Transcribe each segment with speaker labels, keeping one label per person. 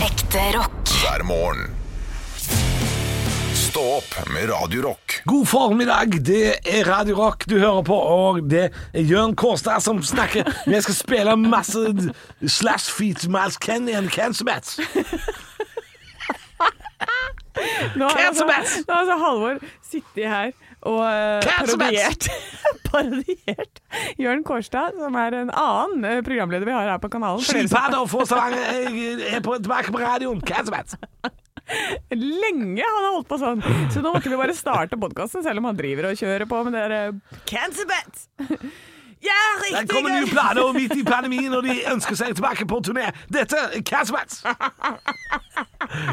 Speaker 1: Ekte rock.
Speaker 2: hver morgen. Stå opp med Radio Rock
Speaker 3: God formiddag, det er Radio Rock du hører på, og det er Jørn Kårstad som snakker. Vi skal spille masse slash feet Miles Kenny and Cancer Mats.
Speaker 4: Nå har
Speaker 3: Cancel
Speaker 4: altså,
Speaker 3: Mats!
Speaker 4: nå har altså Halvor sittet her og eh,
Speaker 3: Cancel
Speaker 4: parodiert, parodiert Jørn Kårstad, som er en annen eh, programleder vi har her på kanalen. For dere som
Speaker 3: Skilpadder fra Stavanger jeg er på, tilbake på radioen. Cancer Mats.
Speaker 4: Lenge han har holdt på sånn. Så nå måtte vi bare starte podkasten, selv om han driver og kjører på med eh, dere Cancer Bats! Ja,
Speaker 3: Der
Speaker 4: riktig!
Speaker 3: kommer nye
Speaker 4: gøy.
Speaker 3: planer og midt i pandemien, og de ønsker seg tilbake på turné. Dette er Cancer Mats.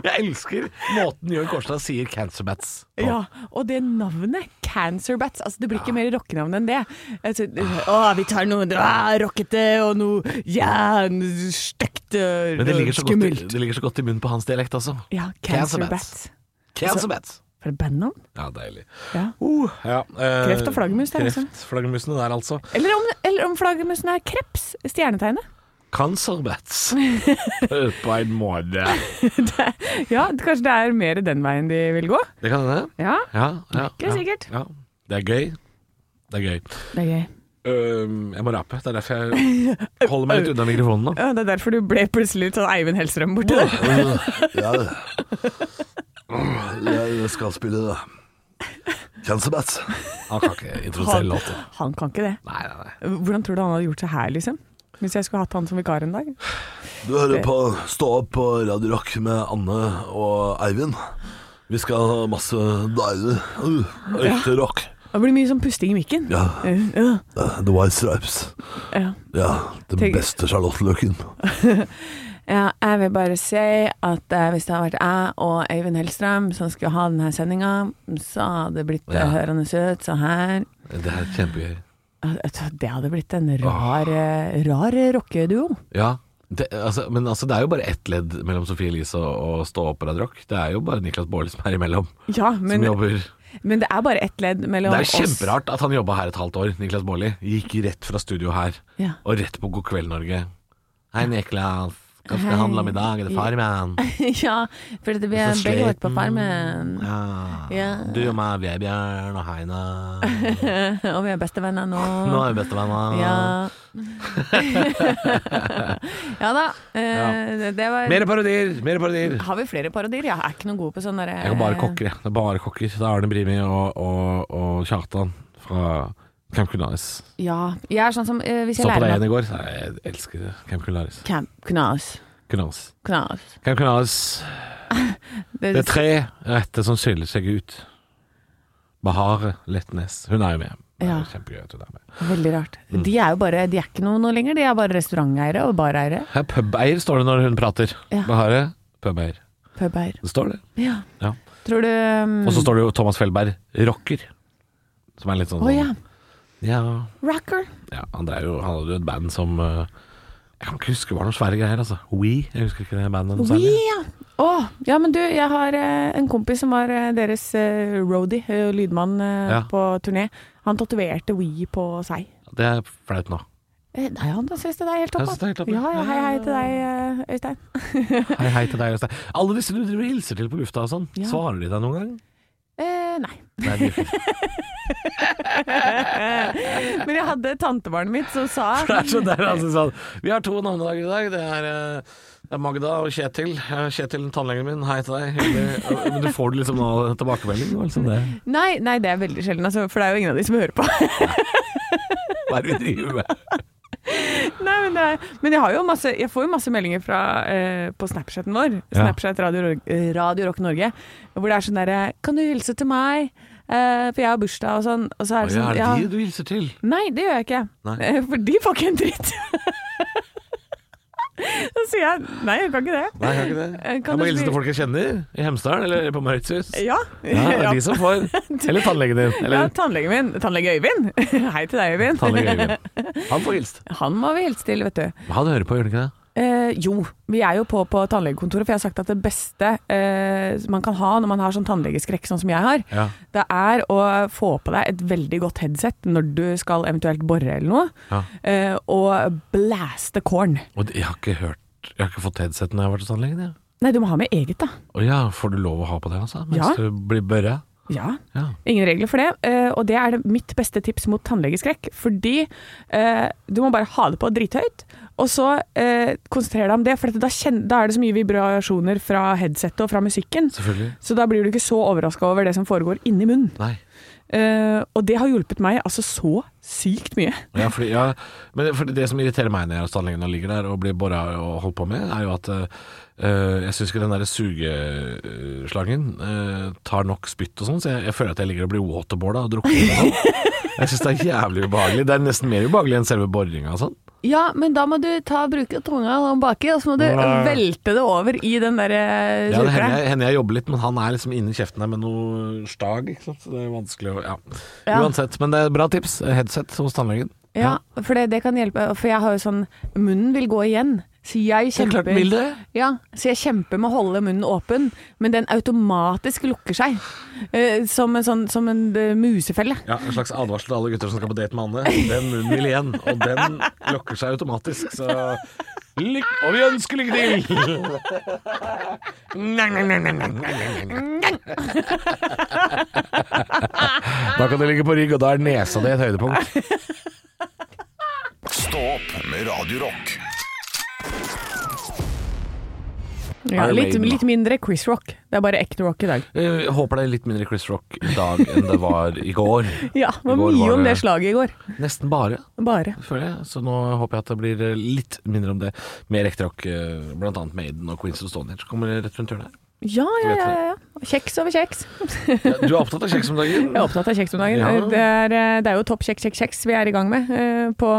Speaker 3: Jeg elsker måten Jørn Kårstad sier Cancer Mats på.
Speaker 4: Ja, og det navnet, Cancer Bats, altså det blir ikke mer rockenavn enn det. Altså, å, vi tar noe ah, rockete og noe ja, stygt og
Speaker 3: Men det ligger, så godt,
Speaker 4: skummelt.
Speaker 3: det ligger så godt i munnen på hans dialekt, altså.
Speaker 4: Ja,
Speaker 3: Cancer
Speaker 4: Cancer
Speaker 3: Bats.
Speaker 4: Bats. Altså-
Speaker 3: Cancer Mats.
Speaker 4: For et bandnavn.
Speaker 3: Ja, deilig.
Speaker 4: Ja.
Speaker 3: Uh, ja. eh,
Speaker 4: Kreft og flaggermus der, altså.
Speaker 3: Kreft, flaggermusene der, altså.
Speaker 4: Eller om, eller om flaggermusen er kreps, stjernetegnet.
Speaker 3: Cancerbats. På en måte.
Speaker 4: Ja, det- kanskje det er mer den veien de vil gå.
Speaker 3: Det kan hende.
Speaker 4: Ja,
Speaker 3: Ja, ja,
Speaker 4: Ikke
Speaker 3: ja,
Speaker 4: sikkert.
Speaker 3: Ja. Det er gøy. Det er gøy.
Speaker 4: det er gøy.
Speaker 3: Øhm, jeg må rape. Det er derfor jeg holder meg litt unna mikrofonen nå.
Speaker 4: Ja, det er derfor du ble plutselig litt sånn Eivind Hellstrøm borti der.
Speaker 5: Ja, jeg skal spille Cancerbats.
Speaker 3: Han kan ikke introdusere
Speaker 4: Han,
Speaker 3: låter.
Speaker 4: han kan ikke det.
Speaker 3: Nei, nei, nei.
Speaker 4: Hvordan tror du han hadde gjort seg her, liksom? Hvis jeg skulle hatt han som vikar en dag?
Speaker 5: Du hører på Stå opp på Radio Rock med Anne og Eivind. Vi skal ha masse deilig uh, ekte rock.
Speaker 4: Det blir mye sånn pusting i mikken.
Speaker 5: Ja, eh,
Speaker 4: Ja,
Speaker 5: The White Stripes.
Speaker 4: ja.
Speaker 5: Ja, den
Speaker 4: Tenk-
Speaker 5: beste sjarlotteløken.
Speaker 4: Ja, jeg vil bare si at eh, hvis det hadde vært jeg og Eivind Hellstrøm som skulle ha denne sendinga, så hadde det blitt eh,
Speaker 3: Ja.
Speaker 4: hørende ut sånn her.
Speaker 3: Det er kjempegøy. Eh,
Speaker 4: Altså, Det hadde blitt en rar, eh, rar rockeduo.
Speaker 3: Ja. Det, altså, men altså, det er jo bare ett ledd mellom Sophie Elise og, og Stå opp og Radio Rock. Det er jo bare Niklas Baarli som er imellom,
Speaker 4: Ja,
Speaker 3: som
Speaker 4: men,
Speaker 3: jobber
Speaker 4: men det er bare ett ledd mellom
Speaker 3: Det er
Speaker 4: oss.
Speaker 3: kjemperart at han jobba her et halvt år, Niklas Baarli. Gikk rett fra studio her,
Speaker 4: Ja.
Speaker 3: og rett på God kveld, Norge. Hei, Niklas. Hva skal
Speaker 4: Hei.
Speaker 3: det handle om i dag? Er det Farmen?
Speaker 4: ja, for det blir
Speaker 3: Så
Speaker 4: begge
Speaker 3: sliten.
Speaker 4: vært på farmen.
Speaker 3: Ja.
Speaker 4: Ja.
Speaker 3: Mm. Du og meg, Vebjørn og Heine.
Speaker 4: Og vi er bestevenner nå.
Speaker 3: Nå er vi bestevenner.
Speaker 4: Ja. ja da. Eh, Det, det var
Speaker 3: Mer parodier! Mer parodier.
Speaker 4: Har vi flere parodier? Jeg er ikke noe god på sånn derre
Speaker 3: Jeg kan bare kokker, jeg. Det er bare kokker. Det er Arne Brimi og, og, og Kjartan fra Camp Cunaris.
Speaker 4: Ja. Jeg er sånn som eh, Hvis jeg
Speaker 3: Så på deg
Speaker 4: lærer
Speaker 3: igjen
Speaker 4: meg
Speaker 3: i går. Nei, Jeg elsker Camp Cunaris.
Speaker 4: Camp Knas.
Speaker 3: Cunaris.
Speaker 4: Knas.
Speaker 3: Camp Cunaris.
Speaker 4: Det,
Speaker 3: Det er tre retter som skiller seg ut. Bahare Letnes. Hun er jo med. Det er
Speaker 4: Ja.
Speaker 3: jo Kjempegøy at hun er med.
Speaker 4: er veldig rart. De er jo bare De er ikke noe, noe lenger. De er bare restauranteiere og bareiere.
Speaker 3: Her er pubeier, står det når hun prater.
Speaker 4: Ja.
Speaker 3: Bahare, pubeier.
Speaker 4: Pubeier.
Speaker 3: Det står det.
Speaker 4: Ja.
Speaker 3: Ja.
Speaker 4: Tror du um,
Speaker 3: Og så står det jo Thomas Felberg, rocker. Som er litt sånn
Speaker 4: Å ja.
Speaker 3: ja.
Speaker 4: Rocker.
Speaker 3: ja, han drev jo Han hadde jo et band som eh, Jeg kan ikke huske det var noen svære greier, altså. We. Jeg husker ikke det bandet noe
Speaker 4: We,
Speaker 3: særlig.
Speaker 4: ja. Å, ja, men du, jeg har eh, en kompis som var eh, deres eh, roadie, eh, lydmann, eh,
Speaker 3: Ja.
Speaker 4: på turné. Han tatoverte We på seg.
Speaker 3: Det er flaut nå.
Speaker 4: Eh, Nei, han syns det er helt
Speaker 3: Jeg synes det er helt
Speaker 4: topp.
Speaker 3: topp, ja.
Speaker 4: Ja, ja, hei, hei til deg, eh, Øystein.
Speaker 3: Hei, hei til deg, Øystein. Alle disse du driver og hilser til på lufta og sånn,
Speaker 4: Ja.
Speaker 3: svarer de deg noen gang?
Speaker 4: Eh, nei.
Speaker 3: Nei, de-
Speaker 4: Men jeg hadde tantebarnet mitt som sa
Speaker 3: Det er så der, altså, sånn. Vi har to navnedager i dag. Det er, eh, det er Magda og Kjetil. Eh, Kjetil, tannlegen min, hei til deg. Hyggelig. Men du får det liksom nå tilbakemelding? og Liksom det.
Speaker 4: Nei, nei, det er veldig sjelden, altså, for det er jo ingen av de som hører på.
Speaker 3: Hva er det vi driver med?
Speaker 4: nei, men, det er, men jeg, har jo masse, jeg får jo masse meldinger fra, eh, på Snapchaten vår,
Speaker 3: Ja.
Speaker 4: Snapchat Radio, Ro- eh, Radio Rock Norge, hvor det er sånn derre Kan du hilse til meg? Eh, for jeg har bursdag og sånn. Og så
Speaker 3: Hva
Speaker 4: er det sånn,
Speaker 3: er det
Speaker 4: ja,
Speaker 3: de du hilser til?
Speaker 4: Nei, det gjør jeg ikke.
Speaker 3: Nei.
Speaker 4: Eh, For de får ikke en dritt. Så sier jeg nei, jeg kan ikke det.
Speaker 3: Nei, jeg har ikke det.
Speaker 4: Eh,
Speaker 3: jeg
Speaker 4: kan
Speaker 3: må
Speaker 4: du
Speaker 3: hilse
Speaker 4: spi-
Speaker 3: til folk jeg kjenner. I Hemsedal eller på Mauritius. Ja,
Speaker 4: Ja.
Speaker 3: det
Speaker 4: Ja.
Speaker 3: er de som får. Eller tannlegen din.
Speaker 4: Ja,
Speaker 3: Eller
Speaker 4: tannlegen min. Tannlege Øyvind. Hei til deg, Øyvind.
Speaker 3: tannlegen Øyvind. Han får hilst.
Speaker 4: Han må vi hilse til, vet du.
Speaker 3: Han hører på, gjør han ikke det?
Speaker 4: Eh, jo, vi er jo på på tannlegekontoret, for jeg har sagt at det beste eh, man kan ha når man har sånn tannlegeskrekk sånn som jeg har,
Speaker 3: Ja.
Speaker 4: det er å få på deg et veldig godt headset når du skal eventuelt bore eller noe,
Speaker 3: Ja.
Speaker 4: eh, og blæste korn.
Speaker 3: Og det- jeg har ikke hørt Jeg har ikke fått headset når jeg har vært hos tannlegen, jeg.
Speaker 4: Nei, du må ha med eget, da.
Speaker 3: Å ja, får du lov å ha på det, altså? Mens
Speaker 4: Ja.
Speaker 3: du blir børre?
Speaker 4: Ja.
Speaker 3: Ja.
Speaker 4: Ingen regler for det, eh, og det er det mitt beste tips mot tannlegeskrekk. Fordi eh, du må bare ha det på drithøyt, og så eh, konsentrere deg om det. For at da, kjen- da er det så mye vibrasjoner fra headsettet og fra musikken,
Speaker 3: Selvfølgelig.
Speaker 4: så da blir du ikke så overraska over det som foregår inni munnen.
Speaker 3: Nei.
Speaker 4: Eh, og det har hjulpet meg altså så sykt mye.
Speaker 3: Ja, fordi, ja, men det- fordi det som irriterer meg når jeg er hos tannlegen og ligger der og blir bora og holdt på med, er jo at eh, jeg syns ikke den der sugeslangen eh, tar nok spytt og sånn, så jeg, jeg føler at jeg ligger og blir waterboarda og drukner og sånn. Jeg syns det er jævlig ubehagelig. Det er nesten mer ubehagelig enn selve boringa og sånn.
Speaker 4: Ja, men da må du ta bruke tunga om baki, og så må du velte det over i den eh, derre
Speaker 3: Ja, det hender jeg, hender jeg jobber litt, men han er liksom inni kjeften her med noe stag, ikke sant. Så det er vanskelig å ja.
Speaker 4: Ja.
Speaker 3: Uansett, men det er bra tips. Headset hos tannlegen.
Speaker 4: Ja, for det, det kan hjelpe. For jeg har jo sånn Munnen vil gå igjen. Så jeg
Speaker 3: er klart
Speaker 4: kjemper,
Speaker 3: den vil det.
Speaker 4: Ja, så jeg kjemper med å holde munnen åpen, men den automatisk lukker seg. Eh, som en, sånn, som en eh, musefelle.
Speaker 3: Ja, En slags advarsel til alle gutter som skal på date med Anne. Den munnen vil igjen, og den lukker seg automatisk. Så lyk Og vi ønsker lykke til! Da kan det ligge på rygg, og da er nesa di et høydepunkt.
Speaker 2: Stå opp med Radio Rock.
Speaker 4: Ja,
Speaker 3: Iron
Speaker 4: litt,
Speaker 3: Maiden, da.
Speaker 4: litt mindre Chris Rock. Det er bare ekte rock i dag.
Speaker 3: Jeg håper det er litt mindre Chris Rock i dag enn det var i går.
Speaker 4: Ja, det var
Speaker 3: I går
Speaker 4: mye
Speaker 3: var
Speaker 4: om det
Speaker 3: det-
Speaker 4: slaget i går.
Speaker 3: Nesten bare,
Speaker 4: Bare.
Speaker 3: føler jeg. Så nå håper jeg at det blir litt mindre om det. Mer ekte rock, eh, blant annet Maiden og Queens of Stone Age kommer rett rundt hjørnet her.
Speaker 4: Ja, ja,
Speaker 3: Vet
Speaker 4: ja.
Speaker 3: du.
Speaker 4: ja. Kjeks over kjeks.
Speaker 3: Ja, du er opptatt av kjeks om dagen?
Speaker 4: Jeg er opptatt av kjeks om dagen.
Speaker 3: Ja.
Speaker 4: Det, er, eh, det er jo topp kjeks, kjeks, kjeks vi er i gang med eh, på,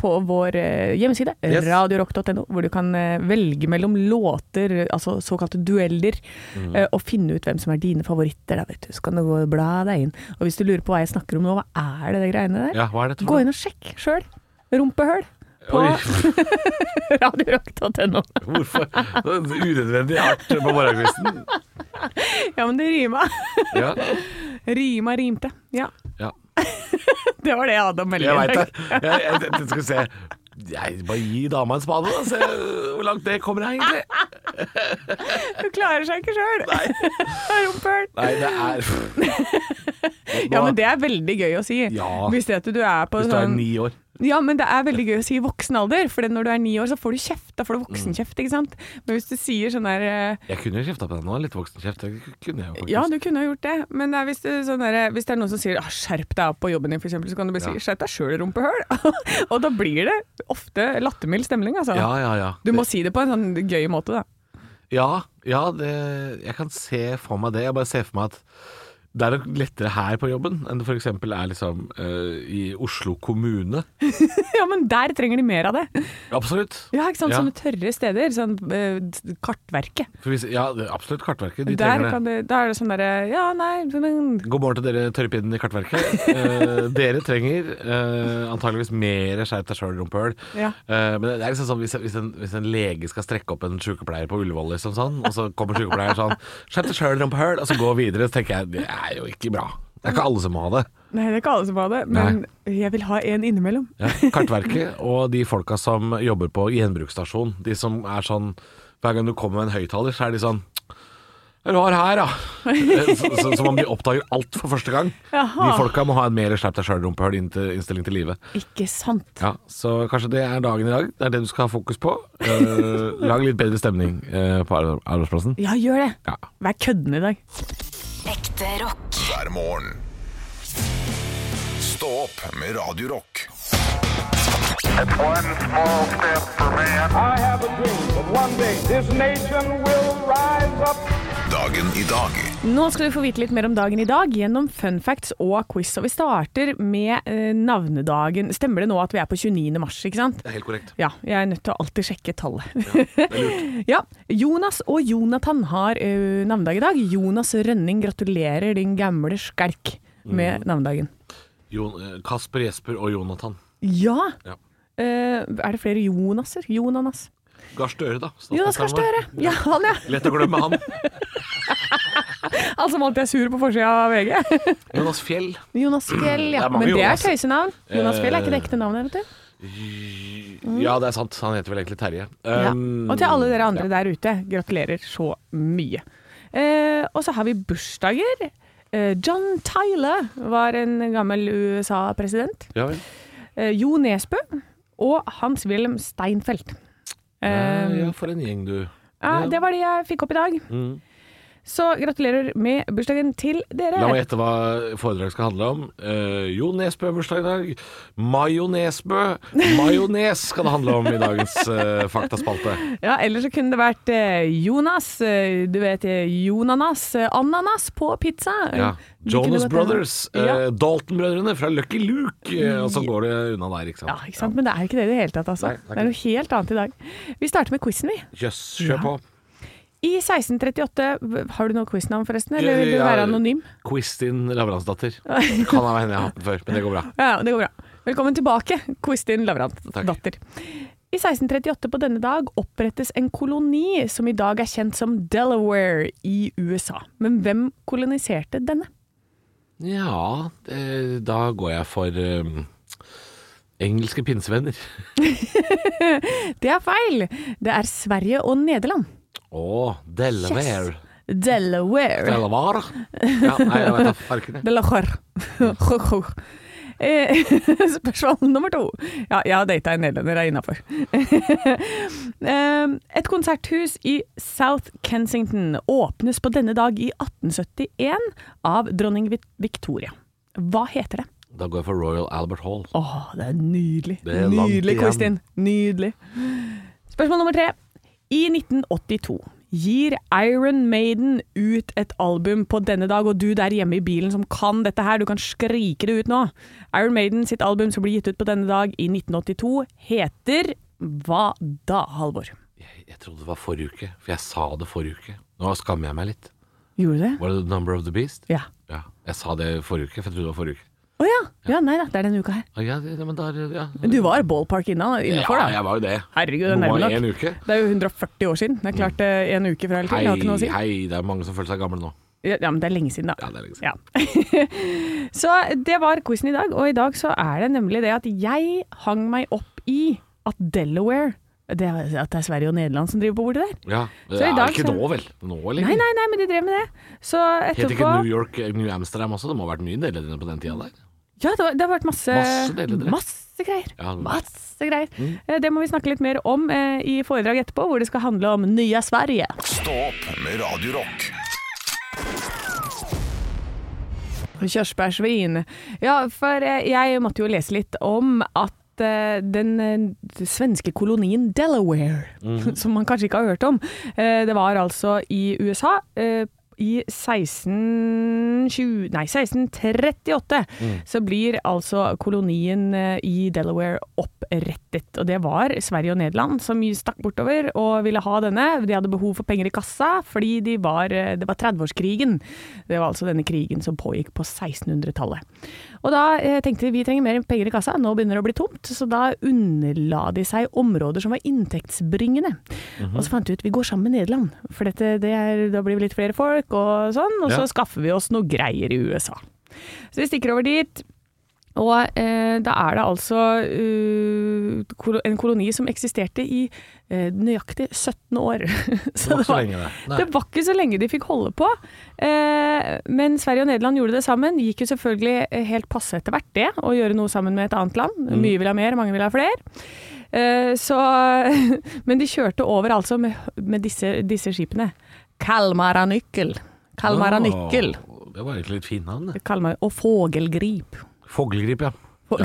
Speaker 4: på vår eh, hjemmeside,
Speaker 3: Yes.
Speaker 4: radiorock.no, hvor du kan eh, velge mellom låter, altså såkalte dueller,
Speaker 3: Mm.
Speaker 4: eh, og finne ut hvem som er dine favoritter. Da, vet du. Så kan du gå og bla deg inn. Og hvis du lurer på hva jeg snakker om nå, hva er det de greiene der?
Speaker 3: Ja, hva er dette
Speaker 4: Gå
Speaker 3: for noe?
Speaker 4: inn og sjekk sjøl. Rumpehøl på
Speaker 3: Oi.
Speaker 4: radiorock.no.
Speaker 3: Hvorfor? Det er en Unødvendig art på morgenkvisten.
Speaker 4: Ja, men det rima.
Speaker 3: Ja,
Speaker 4: Rima rimte. Ja,
Speaker 3: ja.
Speaker 4: det var det jeg hadde å melde.
Speaker 3: Jeg
Speaker 4: i
Speaker 3: veit
Speaker 4: dag.
Speaker 3: det. Jeg, jeg, jeg skal se jeg Bare gi dama en spade, da. Se hvor langt det kommer her, egentlig.
Speaker 4: Du klarer seg ikke sjøl. Rumpehøl.
Speaker 3: Nei, det er
Speaker 4: Ja, men det er veldig gøy å si.
Speaker 3: Ja.
Speaker 4: Hvis det at du er på
Speaker 3: Hvis du er
Speaker 4: sånn
Speaker 3: ni år.
Speaker 4: Ja, men det er veldig gøy å si i voksen alder, for når du er ni år, så får du kjeft. Da
Speaker 3: Mm.
Speaker 4: får du voksenkjeft, ikke sant. Men hvis du sier sånn der eh,
Speaker 3: Jeg kunne jo kjefta på deg nå. Litt voksen kjeft. Det kunne jeg jo faktisk.
Speaker 4: ja, du kunne ha gjort det, men det er hvis, du, sånn der, hvis det er noen som sier ah, 'skjerp deg opp på jobben din', for eksempel, så kan du bare
Speaker 3: Ja.
Speaker 4: si 'skjerp deg sjøl, rumpehøl'. og da blir det ofte lattermild stemning, altså.
Speaker 3: ja, ja. ja.
Speaker 4: Du må si det på en sånn gøy måte, da.
Speaker 3: Ja, ja det, jeg kan se for meg det. Jeg bare ser for meg at det er nok lettere her på jobben enn det f.eks. er liksom eh, i Oslo kommune.
Speaker 4: ja, men der trenger de mer av det.
Speaker 3: Absolutt.
Speaker 4: Ja, ikke sant.
Speaker 3: Ja.
Speaker 4: Sånne tørre steder. Sånn eh, kartverket.
Speaker 3: For hvis, ja, det er absolutt Kartverket. De
Speaker 4: der
Speaker 3: trenger det.
Speaker 4: kan du, da er det sånn derre Ja, nei men,
Speaker 3: God morgen til dere tørrpinnen i Kartverket. Eh, dere trenger eh, antageligvis mer skjerp deg sjøl, rumpehøl.
Speaker 4: Ja.
Speaker 3: Eh, men det er liksom sånn hvis, hvis, en, hvis en lege skal strekke opp en sykepleier på Ullevål, liksom sånn, og så kommer sykepleieren sånn 'Skjerp deg sjøl, rumpehøl', og så går videre, så tenker jeg det er jo ikke bra. Det er ikke alle som må ha det.
Speaker 4: Nei, det er ikke alle som har det, men jeg vil ha en innimellom.
Speaker 3: Ja. Kartverket og de folka som jobber på gjenbruksstasjon, de som er sånn Hver gang du kommer med en høyttaler, så er de sånn Rar her, da. Eh, så- så- Som om de oppdager alt for første gang.
Speaker 4: Jaha.
Speaker 3: De folka må ha en mer skjerp deg sjøl-rumpehøl-innstilling til livet.
Speaker 4: Ikke sant.
Speaker 3: Ja, Så kanskje det er dagen i dag. Det er det du skal ha fokus på. Eh, lag litt bedre stemning eh, på ar- arbeidsplassen.
Speaker 4: Ja, gjør det.
Speaker 3: Ja.
Speaker 4: Vær kødden i dag.
Speaker 1: Ekte rock.
Speaker 2: hver morgen. Stå opp med Radio Rock.
Speaker 6: It's one small step for man.
Speaker 7: I have a dream that one day this nation will rise up.
Speaker 2: Dagen i dag
Speaker 4: Nå skal du få vite litt mer om dagen i dag gjennom fun facts og quiz. Og vi starter med eh, navnedagen. Stemmer det nå at vi er på 29. mars, ikke sant?
Speaker 3: Det er helt korrekt.
Speaker 4: Ja, jeg er nødt til å alltid sjekke tallet. Ja, Jonas og Jonathan har eh, navnedag i dag. Jonas Rønning, gratulerer din gamle skalk
Speaker 3: Mm.
Speaker 4: med navnedagen.
Speaker 3: Jon, eh, Kasper, Jesper og Jonathan.
Speaker 4: Ja!
Speaker 3: Ja.
Speaker 4: Eh, er det flere Jonaser? Jonanas?
Speaker 3: Gahr Støre, da.
Speaker 4: Jonas Gahr Støre!
Speaker 3: Statsministeren vår.
Speaker 4: Ja, han ja.
Speaker 3: Lett å glemme han.
Speaker 4: Han som alltid er sur på forsida av VG.
Speaker 3: Jonas Fjell.
Speaker 4: Jonas Fjell,
Speaker 3: Det
Speaker 4: ja.
Speaker 3: er mange
Speaker 4: Men det er
Speaker 3: Jonas.
Speaker 4: tøysenavn. Jonas Fjell er ikke det
Speaker 3: Eh,
Speaker 4: ekte navnet, vet du.
Speaker 3: Jo, Ja, det er sant. Han heter vel egentlig Terje.
Speaker 4: Mm. Ja.
Speaker 3: Um,
Speaker 4: Og til alle dere andre
Speaker 3: ja.
Speaker 4: der ute, gratulerer så mye. Eh, og så har vi bursdager. Eh, John Tyler var en gammel USA-president.
Speaker 3: Ja vel.
Speaker 4: Eh, jo Nesbø og Hans-Wilhelm Steinfeld. Eh,
Speaker 3: Eh, ja, Mm. for en gjeng, du.
Speaker 4: ja, det var det jeg fikk opp i dag. Så gratulerer med bursdagen til dere.
Speaker 3: La meg gjette hva foredraget skal handle om. Eh, jo Nesbø har bursdag i dag. Majonesbø. Majones skal det handle om i dagens eh, faktaspalte.
Speaker 4: Ja, Eller så kunne det vært eh, Jonas. eh, Du vet eh, Jonanas. eh, Ananas på pizza.
Speaker 3: Ja.
Speaker 4: Det
Speaker 3: Jonas
Speaker 4: kunne godt hende.
Speaker 3: Brothers. eh,
Speaker 4: Ja. Mm.
Speaker 3: Dalton-brødrene fra Lucky Luke. eh, og så går det unna der, ikke sant.
Speaker 4: Ja, ikke sant? Men det er ikke det i det hele tatt, altså.
Speaker 3: Nei, det er
Speaker 4: det er noe helt annet i dag. Vi starter med quizen, vi.
Speaker 3: Jøss, kjør på.
Speaker 4: I 1638 Har du noe quiznavn, forresten? Eller vil du
Speaker 3: Ja,
Speaker 4: være anonym?
Speaker 3: Kristin Lavransdatter. Kan ha henne jeg har hatt den før, men det går bra.
Speaker 4: Ja, det går bra. Velkommen tilbake, Kristin Lavrant,
Speaker 3: Takk.
Speaker 4: datter. I 1638 på denne dag opprettes en koloni som i dag er kjent som Delaware i USA. Men hvem koloniserte denne?
Speaker 3: Ja, eh, da går jeg for eh, engelske pinsevenner.
Speaker 4: Det er feil! Det er Sverige og Nederland.
Speaker 3: Å, Delaware.
Speaker 4: Delaware.
Speaker 3: Delaware? Ja, nei, jeg vet da farken. jeg.
Speaker 4: Delaware. Eh, Spørsmål nummer to. Ja, jeg har data en nederlender, jeg er innafor. Eh, Et konserthus i South Kensington åpnes på denne dag i 1871 av dronning Vic- Victoria. Hva heter det?
Speaker 3: Da går jeg for Royal Albert Hall.
Speaker 4: Åh, det er nydelig.
Speaker 3: Det er langt
Speaker 4: nydelig,
Speaker 3: igjen.
Speaker 4: Kristin. Nydelig. Spørsmål nummer tre. I 1982 gir Iron Maiden ut et album på denne dag, og du der hjemme i bilen som kan dette her, du kan skrike det ut nå. Iron Maiden sitt album som blir gitt ut på denne dag i 1982 heter hva da, Halvor?
Speaker 3: Jeg, jeg trodde det var forrige uke, for jeg sa det forrige uke. Nå skammer jeg meg litt.
Speaker 4: Gjorde du det?
Speaker 3: Var det The Number of the Beast?
Speaker 4: Ja.
Speaker 3: Ja, jeg sa det forrige uke, for jeg trodde det var forrige uke.
Speaker 4: Å ja. ja. Nei da, det er denne uka her.
Speaker 3: Å, Ja, det, men da, er det- ja.
Speaker 4: Men du var ballpark inna- innafor,
Speaker 3: ja,
Speaker 4: da.
Speaker 3: jeg var jo det.
Speaker 4: Herregud, det er
Speaker 3: Nå
Speaker 4: nærme
Speaker 3: var
Speaker 4: nok.
Speaker 3: en uke. Mm.
Speaker 4: Det er jo 140 år siden. Det er klart eh, en uke fra eller til.
Speaker 3: Hei,
Speaker 4: Det har ikke noe å si.
Speaker 3: hei, det er mange som føler seg gamle nå.
Speaker 4: Ja, ja, men det er lenge siden, da.
Speaker 3: Ja, det er lenge siden.
Speaker 4: Ja. så det var quizen i dag, og i dag så er det nemlig det at jeg hang meg opp i at Delaware det er, At det er Sverige og Nederland som driver på bordet der.
Speaker 3: Ja, det
Speaker 4: Så i
Speaker 3: er
Speaker 4: dag
Speaker 3: ikke
Speaker 4: så-
Speaker 3: nå vel? Nå, eller?
Speaker 4: Nei, nei, nei, men de drev med det. Så
Speaker 3: Het
Speaker 4: etterpå
Speaker 3: ikke New York eh, New Amsterdam også? Det må ha vært mye deledende på den tida der.
Speaker 4: Ja, det, var, det har vært masse
Speaker 3: Masse deledere.
Speaker 4: masse greier.
Speaker 3: Ja, det- Mm.
Speaker 4: Masse greier. Eh, Det må vi snakke litt mer om eh, i foredrag etterpå, hvor det skal handle om Nya Sverige.
Speaker 2: Stå opp med Radio Rock.
Speaker 4: Kjørsbærsvin. Ja, for eh, jeg måtte jo lese litt om at eh, den eh, svenske kolonien Delaware, som man kanskje ikke har hørt om, eh, det var altså i USA eh, i 1620, nei, 1638 så blir altså kolonien eh, i Delaware opprettet. Og det var Sverige og Nederland som stakk bortover og ville ha denne. De hadde behov for penger i kassa fordi de var, eh, det var 30-årskrigen. Det var altså denne krigen som pågikk på 1600-tallet. Og da eh, tenkte de vi trenger mer penger i kassa, nå begynner det å bli tomt. Så da underla de seg områder som var inntektsbringende. Og så fant de ut vi går sammen med Nederland, for dette, det er, da blir vi litt flere folk og sånn. Og
Speaker 3: Ja.
Speaker 4: så skaffer vi oss noe greier i USA. Så vi stikker over dit. Og eh, da er det altså eh, kolo- en koloni som eksisterte i eh, nøyaktig 17 år. Så
Speaker 3: Det var ikke så lenge, det. Nei.
Speaker 4: det var ikke så lenge de fikk holde på. Eh, men Sverige og Nederland gjorde det sammen. Gikk jo selvfølgelig eh, helt passe etter hvert det, å gjøre noe sammen med et annet land.
Speaker 3: Mm.
Speaker 4: Mye vil ha mer, mange vil ha flere. Eh, så, men de kjørte over altså med, med disse, disse skipene. Kalmaranyckel. Kalmaranyckel.
Speaker 3: Åh, Det var egentlig litt fint navn, det.
Speaker 4: Kalmar, og Fågelgrip.
Speaker 3: Foglegrip, ja.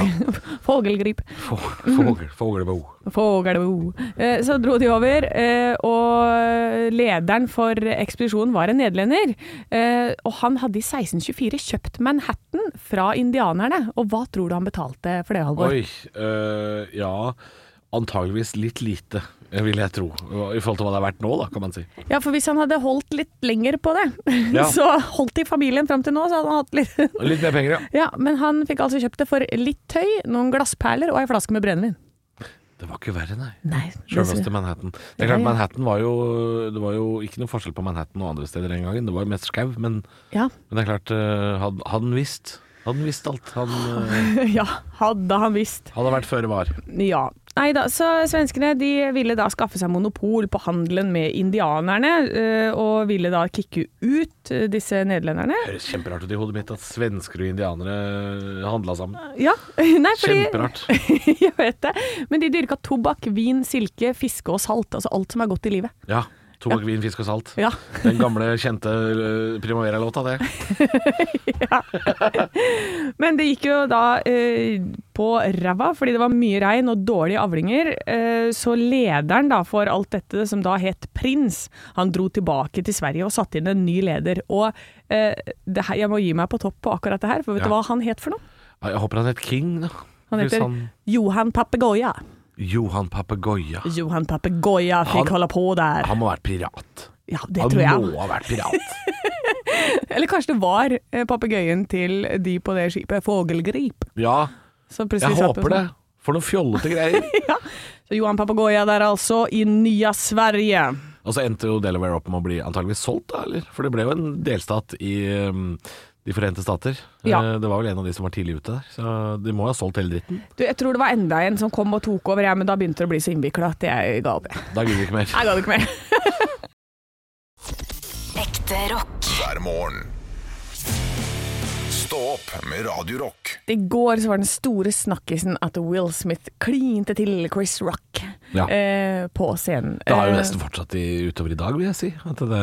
Speaker 4: Fågelgrip.
Speaker 3: Fogel, Fogelbo.
Speaker 4: Fågelbo. Eh, Så dro de over, eh, og lederen for ekspedisjonen var en nederlender. Eh, Og han hadde i 1624 kjøpt Manhattan fra indianerne. Og hva tror du han betalte for det, Halvor?
Speaker 3: Oi. øh, ja. Antageligvis litt lite, eh, vil jeg tro. I forhold til hva det er verdt nå, da, kan man si.
Speaker 4: Ja, for hvis han hadde holdt litt lenger på det,
Speaker 3: Ja.
Speaker 4: så holdt de familien fram til nå, så hadde han hatt litt
Speaker 3: Litt mer penger, ja.
Speaker 4: Ja, men han fikk altså kjøpt det for litt tøy, noen glassperler og ei flaske med brennevin.
Speaker 3: Det var ikke verre, nei.
Speaker 4: Nei, det-
Speaker 3: Sjølveste Manhattan. Det er
Speaker 4: Ja,
Speaker 3: klart,
Speaker 4: ja.
Speaker 3: Manhattan var jo Det var jo ikke noe forskjell på Manhattan og andre steder den gangen. Det var jo mest skau, men,
Speaker 4: ja.
Speaker 3: men det er klart, øh, hadde hadde han visst Hadde han visst alt. Han øh,
Speaker 4: ja, hadde han visst.
Speaker 3: hadde vært føre var.
Speaker 4: Ja. Nei da, så svenskene de ville da skaffe seg monopol på handelen med indianerne, eh, og ville da kicke ut eh, disse nederlenderne.
Speaker 3: Det høres kjemperart ut i hodet mitt at svensker og indianere handla sammen.
Speaker 4: Ja, nei, fordi
Speaker 3: Kjemperart.
Speaker 4: Jeg vet det. Men de dyrka tobakk, vin, silke, fiske og salt. Altså alt som er godt i livet.
Speaker 3: Ja. Tobakk, vin, fisk og salt.
Speaker 4: Ja.
Speaker 3: Den gamle, kjente eh, Primavera-låta, det.
Speaker 4: Men det gikk jo da eh, på ræva, fordi det var mye regn og dårlige avlinger. Eh, så lederen da for alt dette, som da het Prins, han dro tilbake til Sverige og satte inn en ny leder. Og eh, det her, jeg må gi meg på topp på akkurat det her, for vet
Speaker 3: Ja.
Speaker 4: du hva han het for noe?
Speaker 3: Ja, Jeg håper han het King, da.
Speaker 4: Han
Speaker 3: Hvis
Speaker 4: heter Johan Papegoya.
Speaker 3: Johan Papegoya.
Speaker 4: Johan Papegoya
Speaker 3: Han-
Speaker 4: fikk holde på der.
Speaker 3: Han må ha vært pirat.
Speaker 4: ja, det
Speaker 3: Han
Speaker 4: tror jeg.
Speaker 3: må ha vært pirat.
Speaker 4: Eller kanskje det var eh, papegøyen til de på det skipet, Fogelgrip.
Speaker 3: Ja,
Speaker 4: som plutselig
Speaker 3: jeg
Speaker 4: satt på
Speaker 3: håper det.
Speaker 4: sånn.
Speaker 3: For noen fjollete greier.
Speaker 4: Så Johan Papegoya der altså, i nya Sverige.
Speaker 3: Og så endte jo Delaware opp med å bli antageligvis solgt, da, eller? For det ble jo en delstat i um, De forente stater.
Speaker 4: Ja.
Speaker 3: Eh, Det var vel en av de som var tidlig ute der, så de må ha solgt hele dritten.
Speaker 4: Du, jeg tror det var enda en som kom og tok over, jeg, men da begynte det å bli så innvikla at jeg ga opp. jeg.
Speaker 3: Da gidder vi ikke mer.
Speaker 4: Jeg ga det ikke mer.
Speaker 1: Ekte rock.
Speaker 2: hver morgen. Stå opp med Radio Rock.
Speaker 4: I går så var den store snakkisen at Will Smith klinte til Chris Rock
Speaker 3: Ja.
Speaker 4: eh, på scenen.
Speaker 3: Det har jo
Speaker 4: Eh,
Speaker 3: nesten fortsatt i, utover i dag, vil jeg si. At det,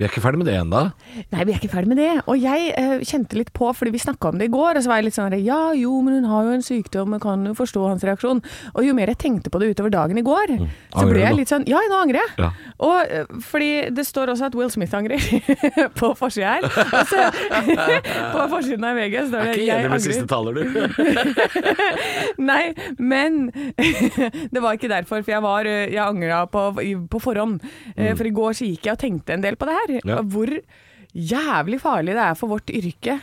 Speaker 3: vi er ikke ferdig med det ennå.
Speaker 4: Nei, vi er ikke ferdig med det. Og jeg eh, kjente litt på, fordi vi snakka om det i går, og så var jeg litt sånn der, Ja, jo, men hun har jo en sykdom, jeg kan jo forstå hans reaksjon. Og jo mer jeg tenkte på det utover dagen i går,
Speaker 3: Mm.
Speaker 4: så
Speaker 3: Angrer du
Speaker 4: ble
Speaker 3: nå?
Speaker 4: jeg litt sånn Ja, nå angrer jeg.
Speaker 3: Ja.
Speaker 4: Og eh, fordi det står også at Will Smith angrer på forsida her. Og så- på forsiden av VG
Speaker 3: Jeg er
Speaker 4: står det
Speaker 3: ikke
Speaker 4: Eh, 'Jeg
Speaker 3: enig med siste
Speaker 4: angrer'.
Speaker 3: taler, du.
Speaker 4: Nei, men det var ikke derfor, for jeg, var, eh, jeg angra på, i- på forhånd. Eh, For i går så gikk jeg og tenkte en del på det her.
Speaker 3: Ja.
Speaker 4: Hvor jævlig farlig det er for vårt yrke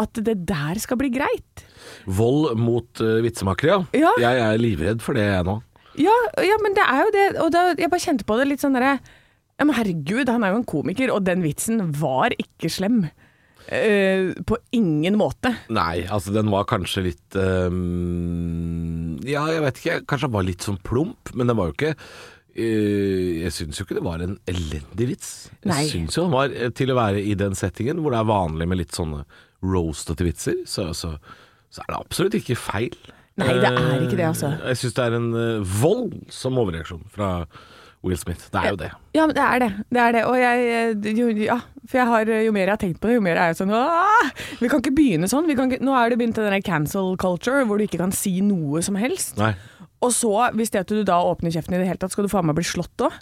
Speaker 4: at det der skal bli greit.
Speaker 3: Vold mot eh, vitsemakere, ja.
Speaker 4: Ja.
Speaker 3: Jeg er livredd for det, jeg nå.
Speaker 4: Ja, ja men det er jo det. Og da, jeg bare kjente på det litt sånn derre ja, men herregud, han er jo en komiker, og den vitsen var ikke slem. Eh, på ingen måte.
Speaker 3: Nei, altså den var kanskje litt ehm, Ja, jeg vet ikke. Kanskje den var litt sånn plump, men den var jo ikke eh, jeg syns jo ikke det var en elendig vits.
Speaker 4: Nei.
Speaker 3: Jeg syns jo den var eh, til å være i den settingen hvor det er vanlig med litt sånne roastete vitser, så, så, så er det absolutt ikke feil.
Speaker 4: Nei, det er
Speaker 3: Eh,
Speaker 4: ikke det, altså.
Speaker 3: Jeg syns det er en eh, voldsom overreaksjon fra Will Smith. Det er jo det.
Speaker 4: Ja, men det er det. Det er det. Og jeg eh, jo, Ja, for jeg har Jo mer jeg har tenkt på det, jo mer er jeg sånn «Åh, Vi kan ikke begynne sånn. Vi kan ikke, nå er det begynt den der cancel culture, hvor du ikke kan si noe som helst.
Speaker 3: Nei.
Speaker 4: Og så, hvis det at du da åpner kjeften i det hele tatt, skal du faen meg bli slått òg.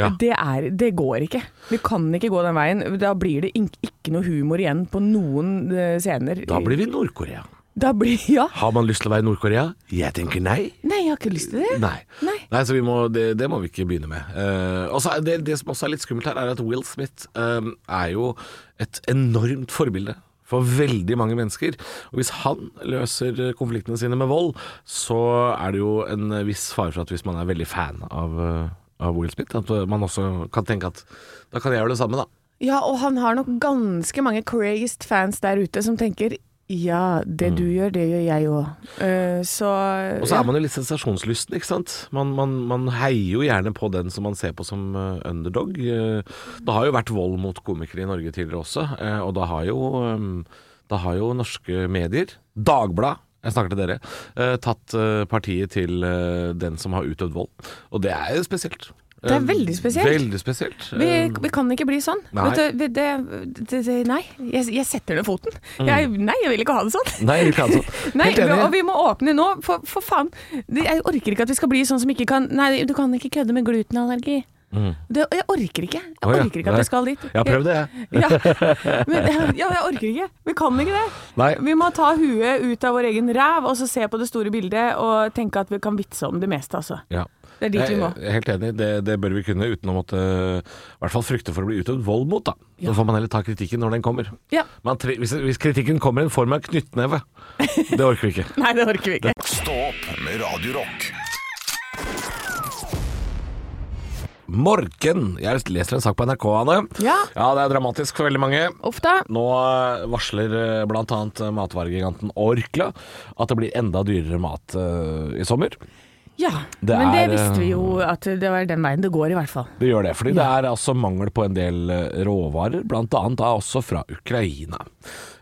Speaker 3: Ja.
Speaker 4: Det, er, det går ikke. Vi kan ikke gå den veien. Da blir det ink- ikke noe humor igjen på noen eh, scener.
Speaker 3: Da blir vi Nord-Korea.
Speaker 4: Da blir Ja.
Speaker 3: Har man lyst til å være Nord-Korea? Jeg tenker nei.
Speaker 4: Nei, jeg har ikke lyst til det.
Speaker 3: Nei.
Speaker 4: Nei.
Speaker 3: så vi må, det, det må vi ikke begynne med. Eh, og så er det, det som også er litt skummelt her, er at Will Smith eh, er jo et enormt forbilde for veldig mange mennesker. Og hvis han løser konfliktene sine med vold, så er det jo en viss fare for at hvis man er veldig fan av, eh, av Will Smith, at man også kan tenke at da kan jeg gjøre det samme, da.
Speaker 4: Ja, og han har nok ganske mange crazed fans der ute som tenker ja, det du gjør, det gjør jeg òg. så
Speaker 3: Mm. Og så er man jo litt sensasjonslysten, ikke sant. Man, man, man heier jo gjerne på den som man ser på som eh, underdog. Eh, Det har jo vært vold mot komikere i Norge tidligere også, eh, og da har jo, eh, da har jo norske medier, Dagblad, jeg snakker til dere, eh, tatt eh, partiet til eh, den som har utøvd vold. Og det er jo spesielt.
Speaker 4: Det er
Speaker 3: Eh,
Speaker 4: veldig spesielt.
Speaker 3: Veldig spesielt.
Speaker 4: vi,
Speaker 3: Eh,
Speaker 4: vi kan ikke bli sånn.
Speaker 3: Nei.
Speaker 4: Vet du, vi- det, det, det, nei. Jeg, jeg setter ned foten. Jeg, nei, jeg vil ikke ha det sånn.
Speaker 3: Mm. Nei, ikke altså.
Speaker 4: Nei,
Speaker 3: Helt
Speaker 4: Og
Speaker 3: enig.
Speaker 4: vi må åpne nå, for, for faen. Det- Jeg orker ikke at vi skal bli sånn som ikke kan Nei, du kan ikke kødde med glutenallergi. Det, jeg orker ikke. Jeg
Speaker 3: Mm. Å, ja.
Speaker 4: orker ikke at
Speaker 3: Nei.
Speaker 4: vi skal dit.
Speaker 3: Jeg har prøvd det, jeg.
Speaker 4: Ja, men ja, jeg orker ikke. Vi kan ikke det.
Speaker 3: Nei.
Speaker 4: Vi må ta huet ut av vår egen ræv og så se på det store bildet og tenke at vi kan vitse om det meste, altså.
Speaker 3: Ja.
Speaker 4: Det er dit vi må.
Speaker 3: Jeg er helt enig, det, det bør vi kunne uten å måtte øh, i hvert fall frykte for å bli utøvd vold mot. da. Så får man heller ta kritikken når den kommer.
Speaker 4: Ja.
Speaker 3: Man tre, hvis, hvis kritikken kommer i en form av knyttneve, det orker vi ikke.
Speaker 4: Nei, det orker vi ikke.
Speaker 2: Stå opp med Radio Rock
Speaker 3: Morgen! Jeg leser en sak på NRK, Anne.
Speaker 4: Ja.
Speaker 3: det er dramatisk for veldig mange.
Speaker 4: Uff da.
Speaker 3: Nå øh, varsler øh, blant annet øh, matvaregiganten Orkla at det blir enda dyrere mat øh, i sommer.
Speaker 8: Ja,
Speaker 3: Det
Speaker 8: men det
Speaker 3: er, eh,
Speaker 8: visste vi jo at det var den veien det går, i hvert fall.
Speaker 3: Det gjør det, fordi det er altså mangel på en del eh, råvarer, blant annet da også fra Ukraina.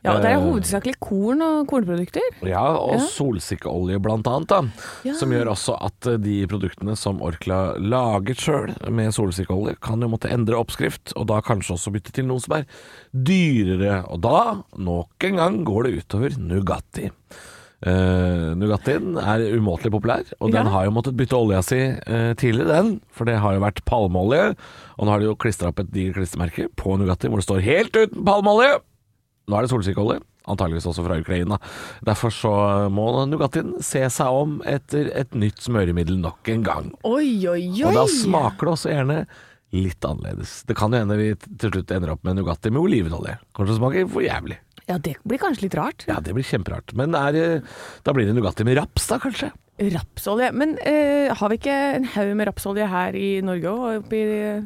Speaker 4: Ja, og Det er
Speaker 3: Eh,
Speaker 4: hovedsakelig korn og kornprodukter.
Speaker 3: Ja, og solsikkeolje blant annet, da. Som gjør også at eh, de produktene som Orkla lager sjøl med solsikkeolje, kan jo måtte endre oppskrift, og da kanskje også bytte til noe som er dyrere. Og da, nok en gang, går det utover Nugatti. Uh, Nugattien er umåtelig populær, og den har jo måttet bytte olja si eh, tidligere, den. For det har jo vært palmeolje, og nå har de jo klistra opp et digert klistremerke på Nugatti hvor det står 'helt uten palmeolje'. Nå er det solsikkeolje, antageligvis også fra Ukraina. Derfor så må Nugattien se seg om etter et nytt smøremiddel nok en gang.
Speaker 8: Oi, oi, oi!
Speaker 3: Og da smaker det også gjerne litt annerledes. Det kan jo hende vi til slutt ender opp med Nugatti med olivenolje. Kanskje det smaker for jævlig.
Speaker 8: Ja, det blir kanskje litt rart.
Speaker 3: Ja, det blir kjemperart. Men er, det- da blir det Nugatti med raps, da kanskje?
Speaker 4: Rapsolje. Men eh, har vi ikke en haug med rapsolje her i Norge òg, og oppi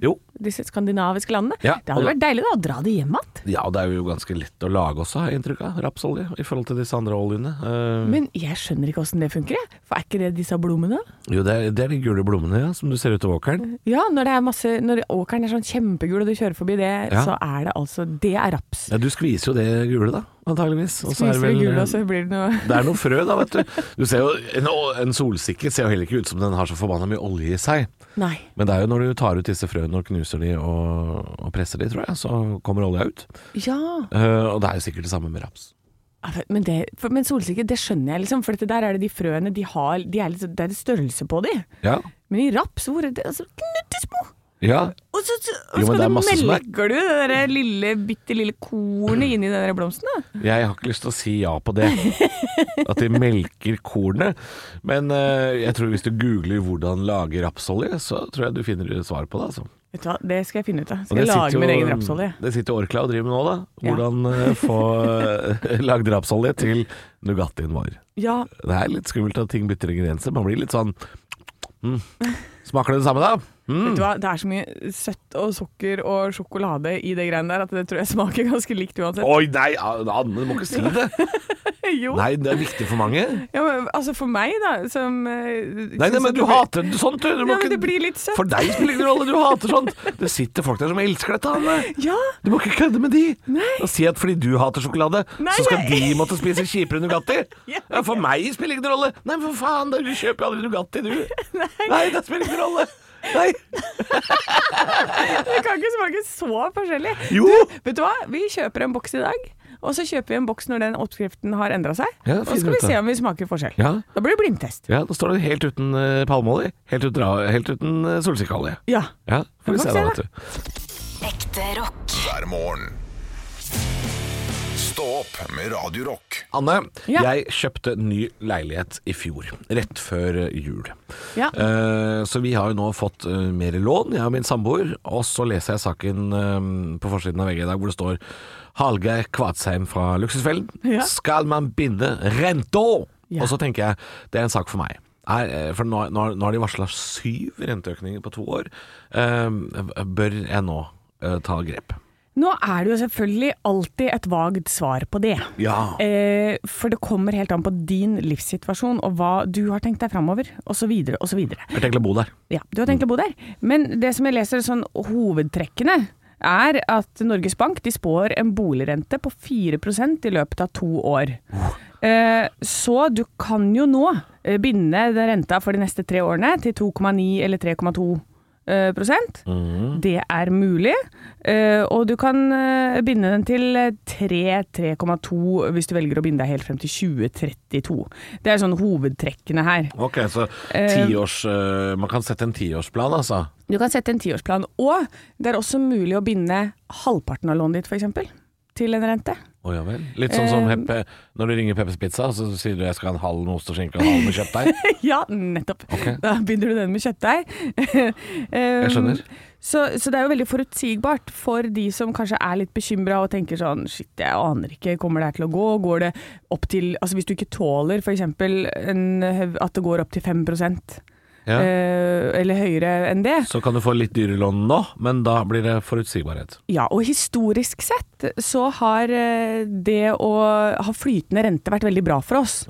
Speaker 3: Jo.
Speaker 4: disse skandinaviske landene?
Speaker 3: Ja,
Speaker 8: Det
Speaker 3: og
Speaker 8: hadde
Speaker 3: da-
Speaker 8: vært deilig da, å dra det hjem igjen.
Speaker 3: Ja, og det er jo ganske lett å lage også, har jeg inntrykk av. Rapsolje, i forhold til disse andre oljene. Eh,
Speaker 4: Men jeg skjønner ikke åssen det funker, jeg. For er ikke det disse blommene?
Speaker 3: jo, det er, det er de gule blommene, ja, som du ser utover åkeren.
Speaker 4: Ja, når, det er masse, når åkeren er sånn kjempegul og du kjører forbi det,
Speaker 3: Ja.
Speaker 4: så er det altså Det er raps.
Speaker 3: Ja, du skviser jo det gule, da, antageligvis. Og så er det
Speaker 4: Spiser det
Speaker 3: vel-
Speaker 4: gule, og så blir det noe
Speaker 3: Det er noe frø da, vet du. du ser jo, en, en solsikke ser jo heller ikke ut som den har så forbanna mye olje i seg.
Speaker 4: Nei.
Speaker 3: Men det er jo når du tar ut disse frøene og knuser de og, og presser de, tror jeg, så kommer olja ut.
Speaker 4: Ja.
Speaker 3: Eh, og det er jo sikkert det samme med raps.
Speaker 4: Ja, for- Men, det, for, men solsikke, det skjønner jeg, liksom. For dette der er det de frøene de har de er litt, så- Det er litt størrelse på de.
Speaker 3: Ja.
Speaker 4: Men i raps, hvor er det altså, Knuttesmå!
Speaker 3: ja.
Speaker 4: Og så, så, og
Speaker 3: Jo, men
Speaker 4: skal
Speaker 3: det er
Speaker 4: du
Speaker 3: masse som er-
Speaker 4: melker du det der lille, bitte lille kornet inni den der blomsten, da.
Speaker 3: Jeg har ikke lyst til å si ja på det. At de melker kornet. Men eh, jeg tror hvis du googler 'hvordan lage rapsolje', så tror jeg du finner svar på det. Altså.
Speaker 4: Vet du hva, det skal jeg finne ut av.
Speaker 3: Og
Speaker 4: Skal jeg
Speaker 3: det
Speaker 4: lage
Speaker 3: sitter
Speaker 4: min
Speaker 3: jo-
Speaker 4: egen rapsolje.
Speaker 3: Det sitter jo Orkla og driver med nå, da.
Speaker 4: Ja.
Speaker 3: Hvordan eh, få eh, lagd rapsolje til Nugattien vår.
Speaker 4: Ja,
Speaker 3: Det er litt skummelt at ting bytter ingredienser. Man blir litt sånn mm. Smaker det det samme, da?
Speaker 4: vet du hva, det er så mye søtt og sukker og sjokolade i det greiene der at det tror jeg smaker ganske likt uansett.
Speaker 3: Oi, nei, Anne, du må ikke si det.
Speaker 4: Jo.
Speaker 3: Nei, det er viktig for mange.
Speaker 4: Ja, men, altså for meg, da, som Nei,
Speaker 3: Nei, nei men du hater det sånt, du. du må
Speaker 4: Ja, men
Speaker 3: ikke-
Speaker 4: det blir litt søtt.
Speaker 3: For deg spiller det ingen rolle, du hater sånt. Det sitter folk der som elsker dette, Anne.
Speaker 4: Ja.
Speaker 3: Du må ikke kødde med de. Og si at fordi du hater sjokolade,
Speaker 4: Nei,
Speaker 3: så skal
Speaker 4: jeg-
Speaker 3: de måtte spise kjipere Nugatti.
Speaker 4: Ja.
Speaker 3: Ja, for meg spiller det ingen rolle. Nei, men for faen, da, du kjøper jo aldri Nugatti, du. Nei. det spiller ingen rolle. Nei.
Speaker 4: Det kan ikke smake så forskjellig.
Speaker 3: Jo.
Speaker 4: Du, vet du hva? Vi kjøper en boks i dag. Og så kjøper vi en boks når den oppskriften har endra seg.
Speaker 3: Ja,
Speaker 4: og så
Speaker 3: finn
Speaker 4: skal vi
Speaker 3: ut det.
Speaker 4: se om vi smaker forskjell.
Speaker 3: Ja.
Speaker 4: Da blir det blindtest.
Speaker 3: Ja, nå står det helt uten eh, palmeolje, helt uten, ra- helt uten eh, solsikkeolje.
Speaker 4: Ja.
Speaker 3: Ja, får vi
Speaker 4: Ja,
Speaker 3: se
Speaker 4: får vi
Speaker 3: da,
Speaker 4: se
Speaker 3: vet
Speaker 4: da.
Speaker 3: du.
Speaker 1: Ekte rock.
Speaker 2: hver morgen. Stå opp med Radio Rock.
Speaker 3: Anne,
Speaker 4: Ja.
Speaker 3: jeg kjøpte ny leilighet i fjor, rett før jul.
Speaker 4: Ja.
Speaker 3: Eh, så vi har jo nå fått eh, mer lån, jeg og min samboer. Og så leser jeg saken eh, på forsiden av VG i dag hvor det står Hallgeir Kvadsheim fra Luksusfellen.
Speaker 4: Ja.
Speaker 3: Skal man binde renta?
Speaker 4: Ja.
Speaker 3: Og så tenker jeg, det er en sak for meg. Er, eh, for nå, nå, nå har de varsla syv renteøkninger på to år. Eh, bør jeg nå eh, ta grep?
Speaker 4: Nå er det jo selvfølgelig alltid et vagt svar på det.
Speaker 3: Ja.
Speaker 4: Eh, for det kommer helt an på din livssituasjon og hva du har tenkt deg framover, osv. osv.
Speaker 3: Jeg tenker å bo der.
Speaker 4: Ja, du har tenkt å bo der. Men det som jeg leser sånn hovedtrekkene, er at Norges Bank de spår en boligrente på 4 i løpet av to år. Eh, Så du kan jo nå eh, binde den renta for de neste tre årene til 2,9 eller 3,2 eh, prosent. Det er mulig. Eh, Og du kan eh, binde den til eh, 3, 3,2 hvis du velger å binde deg helt frem til 2032. Det er sånn hovedtrekkene her.
Speaker 3: Ok, så
Speaker 4: Eh,
Speaker 3: tiårs, eh, man kan sette en tiårsplan, altså.
Speaker 4: Du kan sette en tiårsplan, og det er også mulig å binde halvparten av lånet ditt f.eks. til en rente.
Speaker 3: Å ja vel. Litt sånn som
Speaker 4: Eh,
Speaker 3: Peppe, når du ringer Peppes Pizza, så sier du jeg skal ha en halv med ost og skinke og en halv med kjøttdeig.
Speaker 4: ja, nettopp. Da begynner du den med kjøttdeig.
Speaker 3: Jeg
Speaker 4: Jeg
Speaker 3: skjønner.
Speaker 4: Så, så det er jo veldig forutsigbart for de som kanskje er litt bekymra og tenker sånn shit, jeg aner ikke, kommer det her til å gå? Går det opp til Altså hvis du ikke tåler f.eks. at det går opp til 5
Speaker 3: Ja.
Speaker 4: eh, eller høyere enn det,
Speaker 3: Så kan du få litt dyrere lån nå, men da blir det forutsigbarhet.
Speaker 4: Ja, og historisk sett så har eh, det å ha flytende rente vært veldig bra for oss.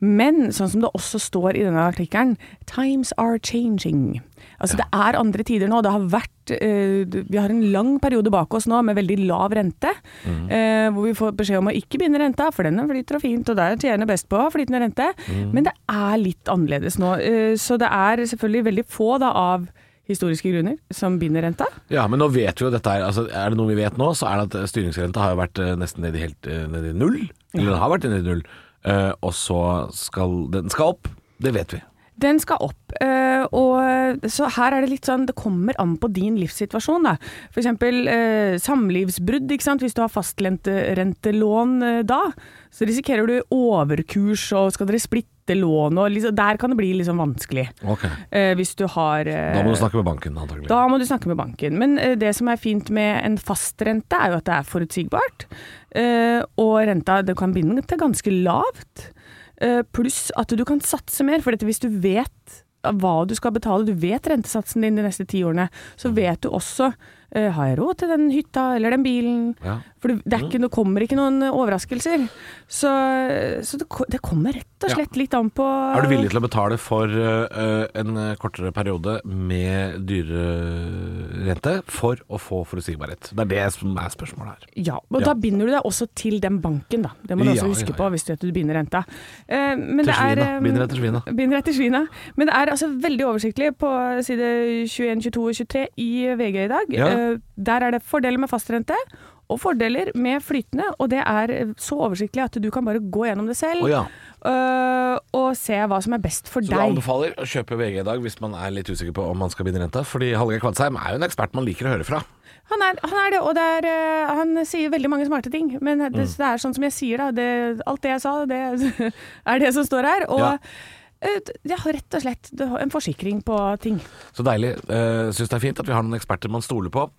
Speaker 4: Men sånn som det også står i denne artikkelen, times are changing. Altså Det er andre tider nå. Det har vært, eh, vi har en lang periode bak oss nå med veldig lav rente, eh, hvor vi får beskjed om å ikke binde renta, for den flyter og fint, og der tjener best på flytende rente. Men det er litt annerledes nå. eh, Så det er selvfølgelig veldig få da, av historiske grunner som binder renta.
Speaker 3: Ja, men nå vet vi jo dette her altså, Er det noe vi vet nå, så er det at eh, styringsrenta har jo vært eh, nesten nede i, helt, eh, nede i null. Eller den har vært nede i null. Eh, og så skal den skal opp. Det vet vi.
Speaker 4: Den skal opp, eh, og så her er det litt sånn, det kommer an på din livssituasjon da. For eksempel eh, samlivsbrudd, ikke sant? Hvis du har fastrentelån eh, da, så risikerer du overkurs, og skal dere splitte lån, og liksom, der kan det bli litt sånn vanskelig. Eh, hvis du har... eh,
Speaker 3: Da må du snakke med banken, antagelig.
Speaker 4: da må du snakke med banken. Men eh, det som er fint med en fastrente, er jo at det er forutsigbart. Eh, og renta det kan binde den til ganske lavt. Eh, pluss at du kan satse mer, for dette, hvis du vet hva du skal betale, du vet rentesatsen din de neste ti årene, så
Speaker 3: Mm.
Speaker 4: vet du også eh, har jeg råd til den hytta eller den bilen?
Speaker 3: Ja. Mm.
Speaker 4: For det, det, er ikke, det kommer ikke noen overraskelser. Så, så det, ko- det kommer rett og
Speaker 3: Ja.
Speaker 4: slett litt an på
Speaker 3: Er du villig til å betale for eh, en kortere periode med dyrere rente for å få forutsigbarhet? Det er det som er spørsmålet her.
Speaker 4: Ja, og
Speaker 3: Ja.
Speaker 4: da binder du deg også til den banken, da. Det må du
Speaker 3: Ja,
Speaker 4: også huske
Speaker 3: ja,
Speaker 4: på
Speaker 3: ja.
Speaker 4: hvis du, at du binder renta. Eh, men
Speaker 3: Til
Speaker 4: det er,
Speaker 3: svina.
Speaker 4: eh,
Speaker 3: Binder etter svina.
Speaker 4: Binder etter svina. Men det er altså veldig oversiktlig på side 21, 22 og 23 i VG i dag.
Speaker 3: Ja.
Speaker 4: Eh, der er det fordeler med fastrente. Og fordeler med flytende, og det er så oversiktlig at du kan bare gå gjennom det selv
Speaker 3: Å ja.
Speaker 4: eh, og se hva som er best for
Speaker 3: Så du
Speaker 4: deg.
Speaker 3: anbefaler å kjøpe VG i dag hvis man er litt usikker på om man skal binde renta? Fordi Hallgeir Kvadsheim er jo en ekspert man liker å høre fra.
Speaker 4: Han er, han er det, og det er, eh, han sier veldig mange smarte ting. Men det, det er sånn som jeg sier, da. Det, alt det jeg sa, det er det som står her. Og
Speaker 3: Ja.
Speaker 4: eh, d- ja, rett og slett det har en forsikring på ting.
Speaker 3: Så deilig. Uh, Syns det er fint at vi har noen eksperter man stoler på.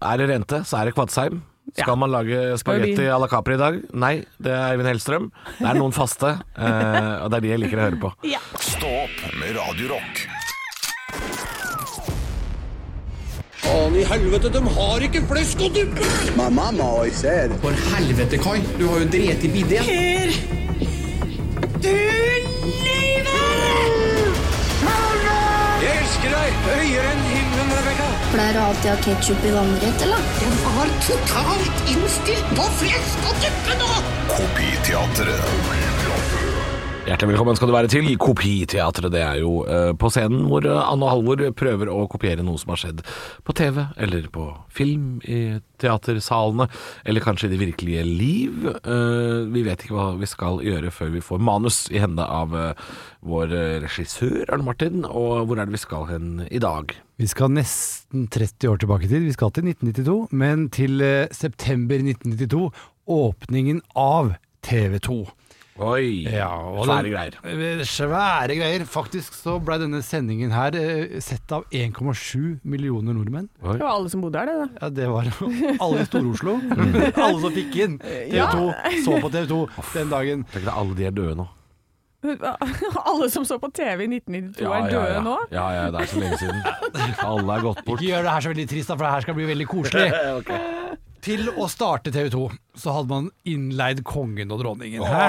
Speaker 3: Er det rente, så er det Kvadsheim. Skal
Speaker 4: Ja.
Speaker 3: man lage
Speaker 4: vi-
Speaker 3: spagetti à la Capri i dag? Nei, det er Eivind Hellstrøm. Det er noen faste, eh, og det er de jeg liker å høre på.
Speaker 2: Stå opp med Radio Rock.
Speaker 9: For helvete, Kai. Du har jo drept i bidé.
Speaker 10: Pleier du alltid å ha ketsjup i vannrett, eller?
Speaker 2: Kopiteatret.
Speaker 3: Hjertelig velkommen skal du være til Kopiteatret. Det er jo eh, på scenen hvor eh, Anne og Halvor prøver å kopiere noe som har skjedd på TV, eller på film, i teatersalene, eller kanskje i det virkelige liv. Eh, vi vet ikke hva vi skal gjøre før vi får manus i hende av eh, vår eh, regissør Arne Martin. Og hvor er det vi skal hen i dag?
Speaker 11: Vi skal nesten 30 år tilbake i tid. Vi skal til 1992, men til eh, september 1992. Åpningen av TV 2.
Speaker 3: Oi, svære greier.
Speaker 11: Eh, Svære greier. Faktisk så blei denne sendingen her eh, sett av 1,7 millioner nordmenn.
Speaker 4: Det var alle som bodde her, det. da.
Speaker 11: Ja, det var alle i Stor-Oslo. alle som fikk inn TV 2. Så på TV 2 den dagen.
Speaker 3: Tenk deg alle de er døde nå.
Speaker 4: Alle som så på TV i 1992 er døde
Speaker 3: ja.
Speaker 4: nå.
Speaker 3: Ja, ja, det er så lenge siden. Alle er gått bort.
Speaker 11: Ikke gjør det her så veldig trist, da, for det her skal bli veldig koselig. Til å starte TV 2 så hadde man innleid kongen og dronningen. Hæ?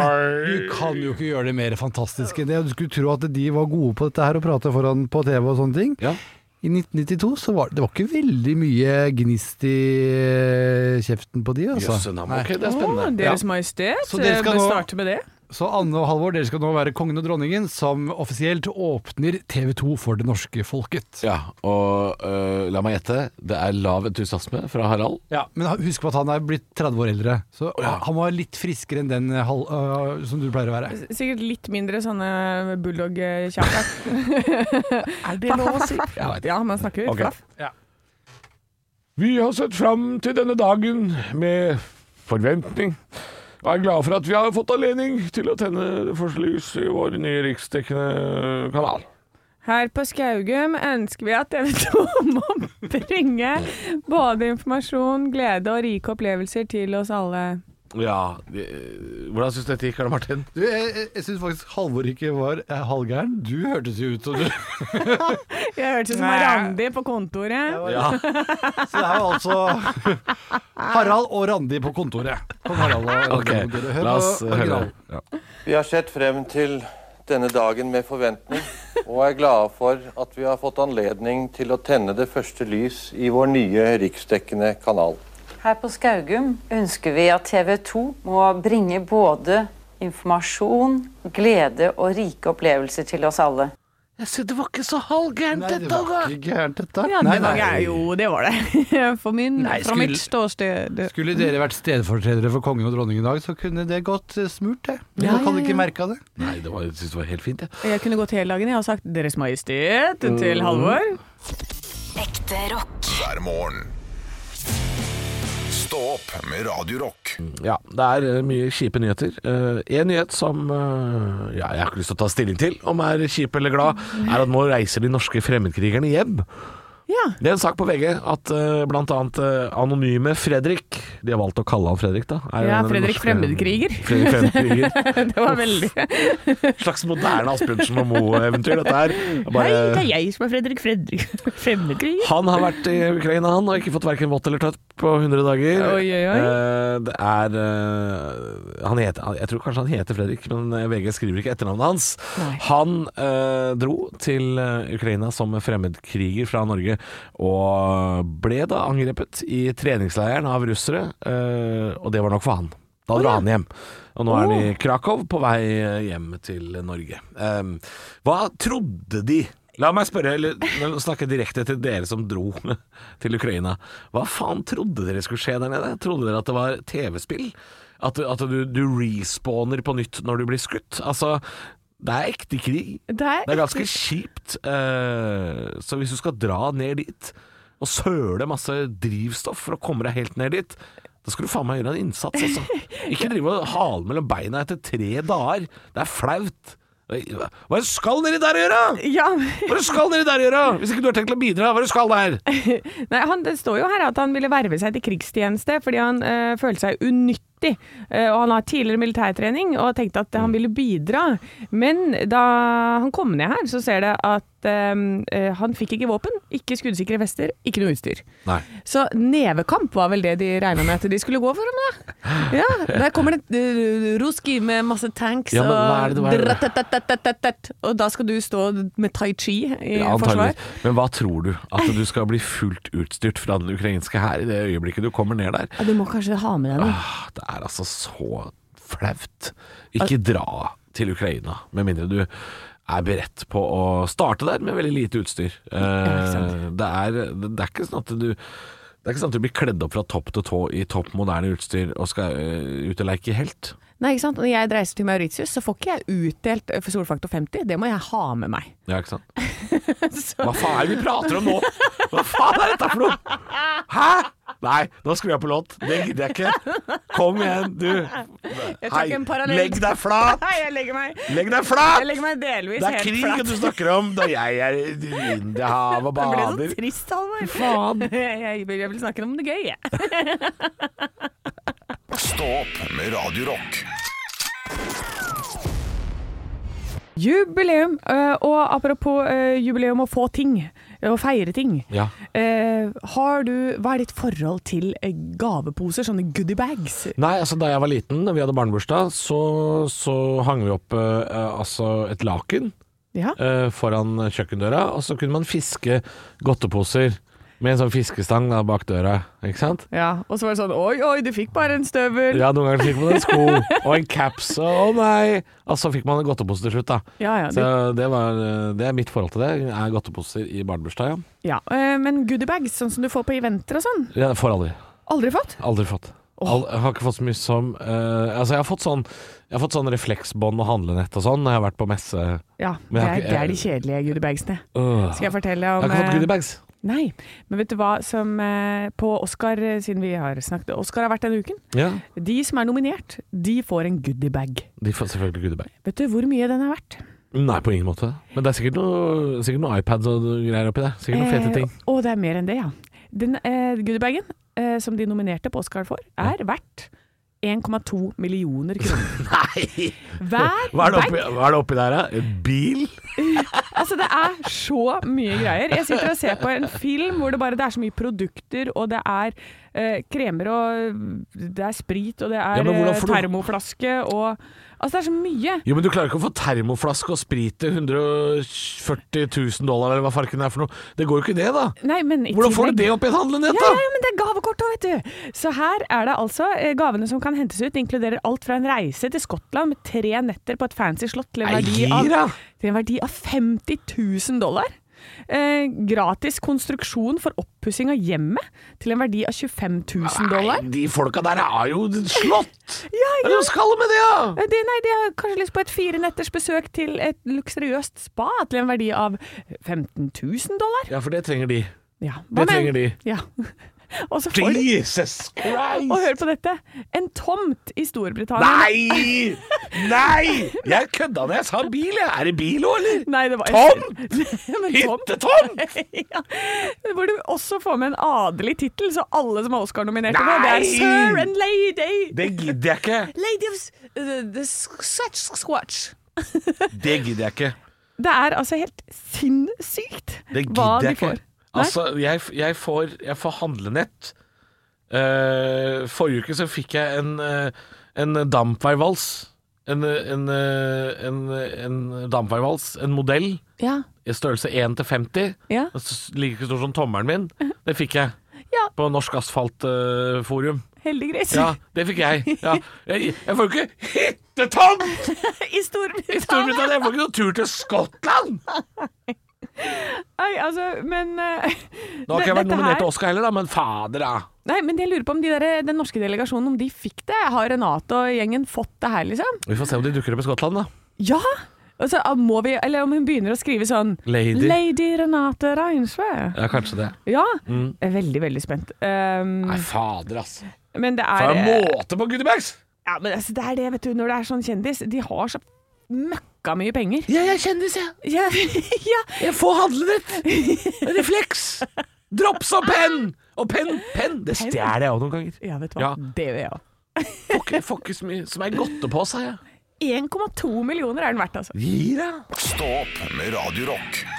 Speaker 11: Du kan jo ikke gjøre det mer fantastisk enn det. Du skulle tro at de var gode på dette her og prate foran på TV og sånne ting.
Speaker 3: Ja.
Speaker 11: I 1992 så var det var ikke veldig mye gnist i eh, kjeften på de, altså.
Speaker 3: Jøsse navn. Ok, det er
Speaker 4: Å,
Speaker 3: spennende.
Speaker 4: Deres Majestet,
Speaker 11: Så dere
Speaker 4: eh,
Speaker 11: skal
Speaker 4: bør
Speaker 11: nå-
Speaker 4: starte med det.
Speaker 11: Så Anne og Halvor, dere skal nå være kongen og dronningen som offisielt åpner TV 2 for det norske folket.
Speaker 3: Ja, og øh, la meg gjette, det er lav entusiasme fra Harald.
Speaker 11: Ja, Men husk på at han er blitt 30 år eldre, så
Speaker 3: ja.
Speaker 11: han var litt friskere enn den eh, hal- øh, som du pleier å være.
Speaker 4: Sikkert litt mindre sånne bulldog-kjaper. er det lov å si? Ja, man snakker
Speaker 3: Ok.
Speaker 4: flaff.
Speaker 3: Vi har sett fram til denne dagen med forventning, og er glad for at vi har fått anledning til å tenne førstelys i vår nye riksdekkende kanal.
Speaker 4: Her på Skaugum ønsker vi at TV 2 må bringe både informasjon, glede og rike opplevelser til oss alle.
Speaker 3: Ja, de, Hvordan syns du dette gikk, Karl Martin?
Speaker 11: Du, jeg, jeg- jeg syns faktisk Halvor ikke var eh, halvgæren. Du hørtes jo ut som du
Speaker 4: Jeg hørtes ut som
Speaker 11: Nei.
Speaker 4: Randi på kontoret.
Speaker 11: Ja. Så det er jo altså Harald og Randi på kontoret. Kong Harald og Randi
Speaker 3: Ok,
Speaker 11: på kontoret. Hør
Speaker 3: la oss
Speaker 11: på
Speaker 3: høre.
Speaker 11: originalen.
Speaker 3: Ja.
Speaker 12: Vi har sett frem til denne dagen med forventning, og er glade for at vi har fått anledning til å tenne det første lys i vår nye riksdekkende kanal.
Speaker 13: Her på Skaugum ønsker vi at TV 2 må bringe både informasjon, glede og rike opplevelser til oss alle.
Speaker 3: Jeg synes det var ikke så halvgærent
Speaker 11: Nei, det var ikke gærent dette.
Speaker 4: Ja,
Speaker 11: Nei,
Speaker 4: det var,
Speaker 11: nei.
Speaker 4: jo, det var det. For min,
Speaker 11: Nei,
Speaker 4: fra
Speaker 11: skulle-
Speaker 4: mitt ståsted.
Speaker 11: Skulle dere vært stedfortredere for kongen og dronningen i dag, så kunne det gått eh, smurt, det. Men
Speaker 4: Ja,
Speaker 11: man kan
Speaker 4: ja,
Speaker 11: ikke
Speaker 4: ja.
Speaker 11: merke av det.
Speaker 3: Nei, det var, jeg synes det var helt fint, jeg.
Speaker 4: Jeg kunne gått hele dagen jeg og sagt 'Deres Majestet'
Speaker 11: Mm.
Speaker 4: til Halvor.
Speaker 1: Ekte rock.
Speaker 2: hver morgen. Stå opp med Radio Rock.
Speaker 3: Ja, det er eh, mye kjipe nyheter. Én nyhet som eh, ja, jeg har ikke lyst til å ta stilling til, om er kjip eller glad, er at nå reiser de norske fremmedkrigerne hjem.
Speaker 4: Ja.
Speaker 3: Det er en sak på VG at eh, blant annet eh, anonyme Fredrik De har valgt å kalle han Fredrik, da. er en
Speaker 4: Ja,
Speaker 3: av de
Speaker 4: Fredrik
Speaker 3: norske-
Speaker 4: Fremmedkriger.
Speaker 3: Fredrik Fremmedkriger.
Speaker 4: det var veldig
Speaker 3: Slags moderne Asbjørnsen og Moe-eventyr, dette her.
Speaker 4: Hei,
Speaker 3: Bare-
Speaker 4: det er jeg som er Fredrik Fredrik Fremmedkriger.
Speaker 3: Han har vært i Ukraina, han, og ikke fått verken vått eller tøtt på 100 dager.
Speaker 4: Oi, oi, oi.
Speaker 3: Eh, det er eh, han heter, Jeg tror kanskje han heter Fredrik, men eh, VG skriver ikke etternavnet hans. Han eh, dro til eh, Ukraina som fremmedkriger fra Norge, og ble da angrepet i treningsleiren av russere, eh, og det var nok for han. Da dro han hjem. Og nå er han i Krakow på vei eh, hjem til Norge. Eh, hva trodde de? La meg spørre, eller eller snakke direkte til dere som dro til Ukraina. Hva faen trodde dere skulle skje der nede? Trodde dere at det var TV-spill? At, du- at du, du respawner på nytt når du blir skutt? Altså, det er ekte krig.
Speaker 4: Det er
Speaker 3: Det er ganske kjipt. eh, så hvis du skal dra ned dit og søle masse drivstoff for å komme deg helt ned dit, da skal du faen meg gjøre en innsats, altså. Ikke drive og hale mellom beina etter tre dager. Det er flaut. Hva skal dere der gjøre?
Speaker 4: Ja.
Speaker 3: Hva skal dere der gjøre? Hvis ikke du har tenkt å bidra, hva skal der?
Speaker 4: Nei, han, det står jo her at han ville verve seg til krigstjeneste fordi han eh, følte seg unyttig. Eh, og han har tidligere militærtrening og tenkte at
Speaker 3: Mm.
Speaker 4: han ville bidra. Men da han kom ned her, så ser det at eh, eh, han fikk ikke våpen, ikke skuddsikre vester, ikke noe utstyr.
Speaker 3: Nei.
Speaker 4: Så nevekamp var vel det de regna med at de skulle gå for, da. Ja, der kommer det uh, Ruski med masse tanks
Speaker 3: Ja, men hva er det-
Speaker 4: og
Speaker 3: hva er det-
Speaker 4: drattatatatatat, Og da skal du stå med tai chi i forsvar.
Speaker 3: antageligvis. Men hva tror du? At du skal bli fullt utstyrt fra den ukrainske hær i det øyeblikket du kommer ned der?
Speaker 4: Ja, du må kanskje ha med deg noe.
Speaker 3: Ah, Det er altså så flaut. Ikke dra til Ukraina, med mindre du er beredt på å starte der med veldig lite utstyr. Eh, Det er, det er ikke sånn at du det er ikke sånn at du blir kledd opp fra topp til tå i topp moderne utstyr og skal eh, ut og leke helt.
Speaker 4: Nei, ikke sant? Når jeg reiser til Mauritius, så får ikke jeg utdelt eh, for solfaktor 50. Det må jeg ha med meg.
Speaker 3: Ja, ikke sant? Hva faen er det vi prater om nå?! Hva faen er dette for noe?! Hæ?! Nei, nå skrur jeg på låt. Det gidder jeg ikke. Kom igjen, du.
Speaker 4: Jeg
Speaker 3: Hei,
Speaker 4: trakk en parallell.
Speaker 3: legg deg flat!
Speaker 4: Nei, jeg legger meg
Speaker 3: Legg deg flat!
Speaker 4: Jeg legger meg delvis
Speaker 3: Det er
Speaker 4: helt
Speaker 3: krig
Speaker 4: flat.
Speaker 3: du snakker om, da jeg er i Indiahavet og
Speaker 4: Det ble så
Speaker 3: bader.
Speaker 4: sånn trist, Halvor.
Speaker 3: Faen.
Speaker 4: Jeg, jeg, vil- jeg vil snakke om det gøy, jeg.
Speaker 2: Stå opp med Radio Rock.
Speaker 4: Jubileum, eh, og apropos eh, jubileum å få ting, eh, å feire ting.
Speaker 3: Ja.
Speaker 4: Eh, Har du, hva er ditt forhold til eh, gaveposer, sånne goodiebags?
Speaker 3: Nei, altså da jeg var liten, da vi hadde barnebursdag, så, så hang vi opp eh, eh, altså et laken
Speaker 4: Ja.
Speaker 3: eh, foran kjøkkendøra, og så kunne man fiske godteposer med en sånn fiskestang da, bak døra, ikke sant?
Speaker 4: Ja, og så var det sånn Oi, oi, du fikk bare en støvel.
Speaker 3: Ja, noen ganger fikk man en sko og en caps, og å nei! Og så fikk man en godtepose til slutt, da.
Speaker 4: Ja, ja,
Speaker 3: Så det, var, eh, det er mitt forhold til det, er godteposer i barnebursdag, ja.
Speaker 4: Ja, eh, Men goodiebags, sånn som du får på eventer og sånn,
Speaker 3: ja for aldri.
Speaker 4: aldri fått?
Speaker 3: Aldri fått. Al- jeg har ikke fått så mye som eh, Altså, jeg har fått sånn Jeg har fått sånn refleksbånd og handlenett og sånn når jeg har vært på messe.
Speaker 4: Ja,
Speaker 3: Men jeg
Speaker 4: det
Speaker 3: har
Speaker 4: er,
Speaker 3: ikke-
Speaker 4: det er de kjedelige goodiebagsene.
Speaker 3: Øh.
Speaker 4: Skal jeg fortelle
Speaker 3: jeg
Speaker 4: om
Speaker 3: har ikke fått
Speaker 4: eh,
Speaker 3: goodiebags.
Speaker 4: Nei, men vet du hva som eh, på Oscar, eh, siden vi har snakket Oscar har vært denne uken.
Speaker 3: Ja,
Speaker 4: De som er nominert, de får en goodiebag.
Speaker 3: de får selvfølgelig goodiebag.
Speaker 4: Vet du hvor mye den er verdt?
Speaker 3: Nei, på ingen måte. Men det er sikkert noe, sikkert noe iPads og noe greier oppi der. Sikkert noen fete ting.
Speaker 4: Eh, og det er mer enn det, ja. Den eh, goodiebagen eh, som de nominerte på Oscar for, er verdt 1,2 millioner kroner.
Speaker 3: Nei!
Speaker 4: Hver
Speaker 3: Hva er det oppi,
Speaker 4: bag-
Speaker 3: hva er det oppi der, da? En bil?
Speaker 4: altså Det er så mye greier. Jeg sitter og ser på en film hvor det bare det er så mye produkter, og det er eh, kremer og Det er sprit, og det er
Speaker 3: Ja, men hvordan
Speaker 4: eh,
Speaker 3: får du-
Speaker 4: termoflaske og Altså, det er så mye.
Speaker 3: Jo, men du klarer ikke å få termoflaske og sprit til 140 000 dollar, eller hva farken er for noe. Det går jo ikke det, da.
Speaker 4: Nei, men i
Speaker 3: Hvordan får
Speaker 4: tillegg-
Speaker 3: du det opp i et handlenett,
Speaker 4: Ja,
Speaker 3: da?
Speaker 4: ja, men det er gavekort òg, vet du. Så her er det altså eh, gavene som kan hentes ut, inkluderer alt fra en reise til Skottland med tre netter på et fancy slott til en
Speaker 3: Nei,
Speaker 4: verdi
Speaker 3: gi da.
Speaker 4: av, til en verdi av 50 000 dollar. Eh, gratis konstruksjon for oppussing av hjemmet til en verdi av 25 000 dollar.
Speaker 3: Nei, de folka der har jo slått!
Speaker 4: Ja,
Speaker 3: Hva er det de skal med det, da?
Speaker 4: Eh, det- nei, de har kanskje lyst på et fire netters besøk til et luksuriøst spa til en verdi av 15 000 dollar.
Speaker 3: Ja, for det trenger de.
Speaker 4: Ja,
Speaker 3: Det
Speaker 4: hva men-
Speaker 3: trenger de.
Speaker 4: Ja. Og så får de
Speaker 3: Jesus Christ!
Speaker 4: Og hør på dette. En tomt i Storbritannia
Speaker 3: Nei! Nei! Jeg kødda da jeg sa bil, jeg. Er det bil òg, eller?
Speaker 4: Nei, det var
Speaker 3: Tomt!
Speaker 4: Men tomt.
Speaker 3: Hyttetomt!
Speaker 4: ja. Hvor du også får med en adelig tittel, så alle som er Oscar-nominerte nå, det
Speaker 3: Nei!
Speaker 4: er Sir and Lady.
Speaker 3: Det gidder jeg ikke.
Speaker 4: Lady of s- the, the Scotch Squatch.
Speaker 3: Det gidder jeg ikke.
Speaker 4: Det er altså helt sinnssykt
Speaker 3: Det
Speaker 4: hva
Speaker 3: gidder
Speaker 4: de
Speaker 3: jeg ikke.
Speaker 4: får. Nei?
Speaker 3: Altså, jeg, jeg, får, jeg får handlenett. Eh, forrige uke så fikk jeg en, eh, en dampveivals. En, eh, en, eh, en, en dampveivals, en modell.
Speaker 4: Ja.
Speaker 3: I størrelse 1 til 50.
Speaker 4: Ja.
Speaker 3: Altså, Like stor som tommelen min. Det fikk jeg.
Speaker 4: Ja.
Speaker 3: På Norsk Asfaltforum.
Speaker 4: Heldig gris.
Speaker 3: Ja, det fikk jeg. Ja. Jeg, jeg får jo ikke hyttetomt
Speaker 4: I Storbritannia.
Speaker 3: i Storbritannia! Jeg får ikke noen tur til Skottland!
Speaker 4: Nei, altså, men eh,
Speaker 3: Nå har
Speaker 4: det-
Speaker 3: ikke jeg vært
Speaker 4: dette
Speaker 3: nominert
Speaker 4: her-
Speaker 3: til Oscar heller, da, men fader, da.
Speaker 4: Nei, men jeg lurer på om de der, den norske delegasjonen om de fikk det. Har Renate og gjengen fått det her, liksom?
Speaker 3: Vi får se om de dukker opp i Skottland, da.
Speaker 4: Ja! Altså, ah, må vi, eller om hun begynner å skrive sånn
Speaker 3: Lady.
Speaker 4: Renate Reinsve.
Speaker 3: Ja, kanskje det.
Speaker 4: Ja.
Speaker 3: Mm.
Speaker 4: Jeg er veldig, veldig spent. Um,
Speaker 3: Nei, fader, ass.
Speaker 4: men det
Speaker 3: For
Speaker 4: er
Speaker 3: en måte på goodiebags!
Speaker 4: Ja, men altså, det er det, vet du, når det er sånn kjendis. De har så møkka mye penger.
Speaker 3: Ja, jeg er kjendis, jeg.
Speaker 4: Ja, ja.
Speaker 3: Jeg får handlenett! Refleks! Drops og penn! Og penn, penn! Det
Speaker 4: Penn?
Speaker 3: stjeler jeg òg noen ganger.
Speaker 4: Ja, vet du hva.
Speaker 3: Ja.
Speaker 4: Det gjør jeg òg.
Speaker 3: Får ikke- Får ikke så mye som ei godtepose, jeg.
Speaker 4: 1,2 millioner er den verdt, altså.
Speaker 3: Gi deg!
Speaker 2: Stå opp med Radio Rock.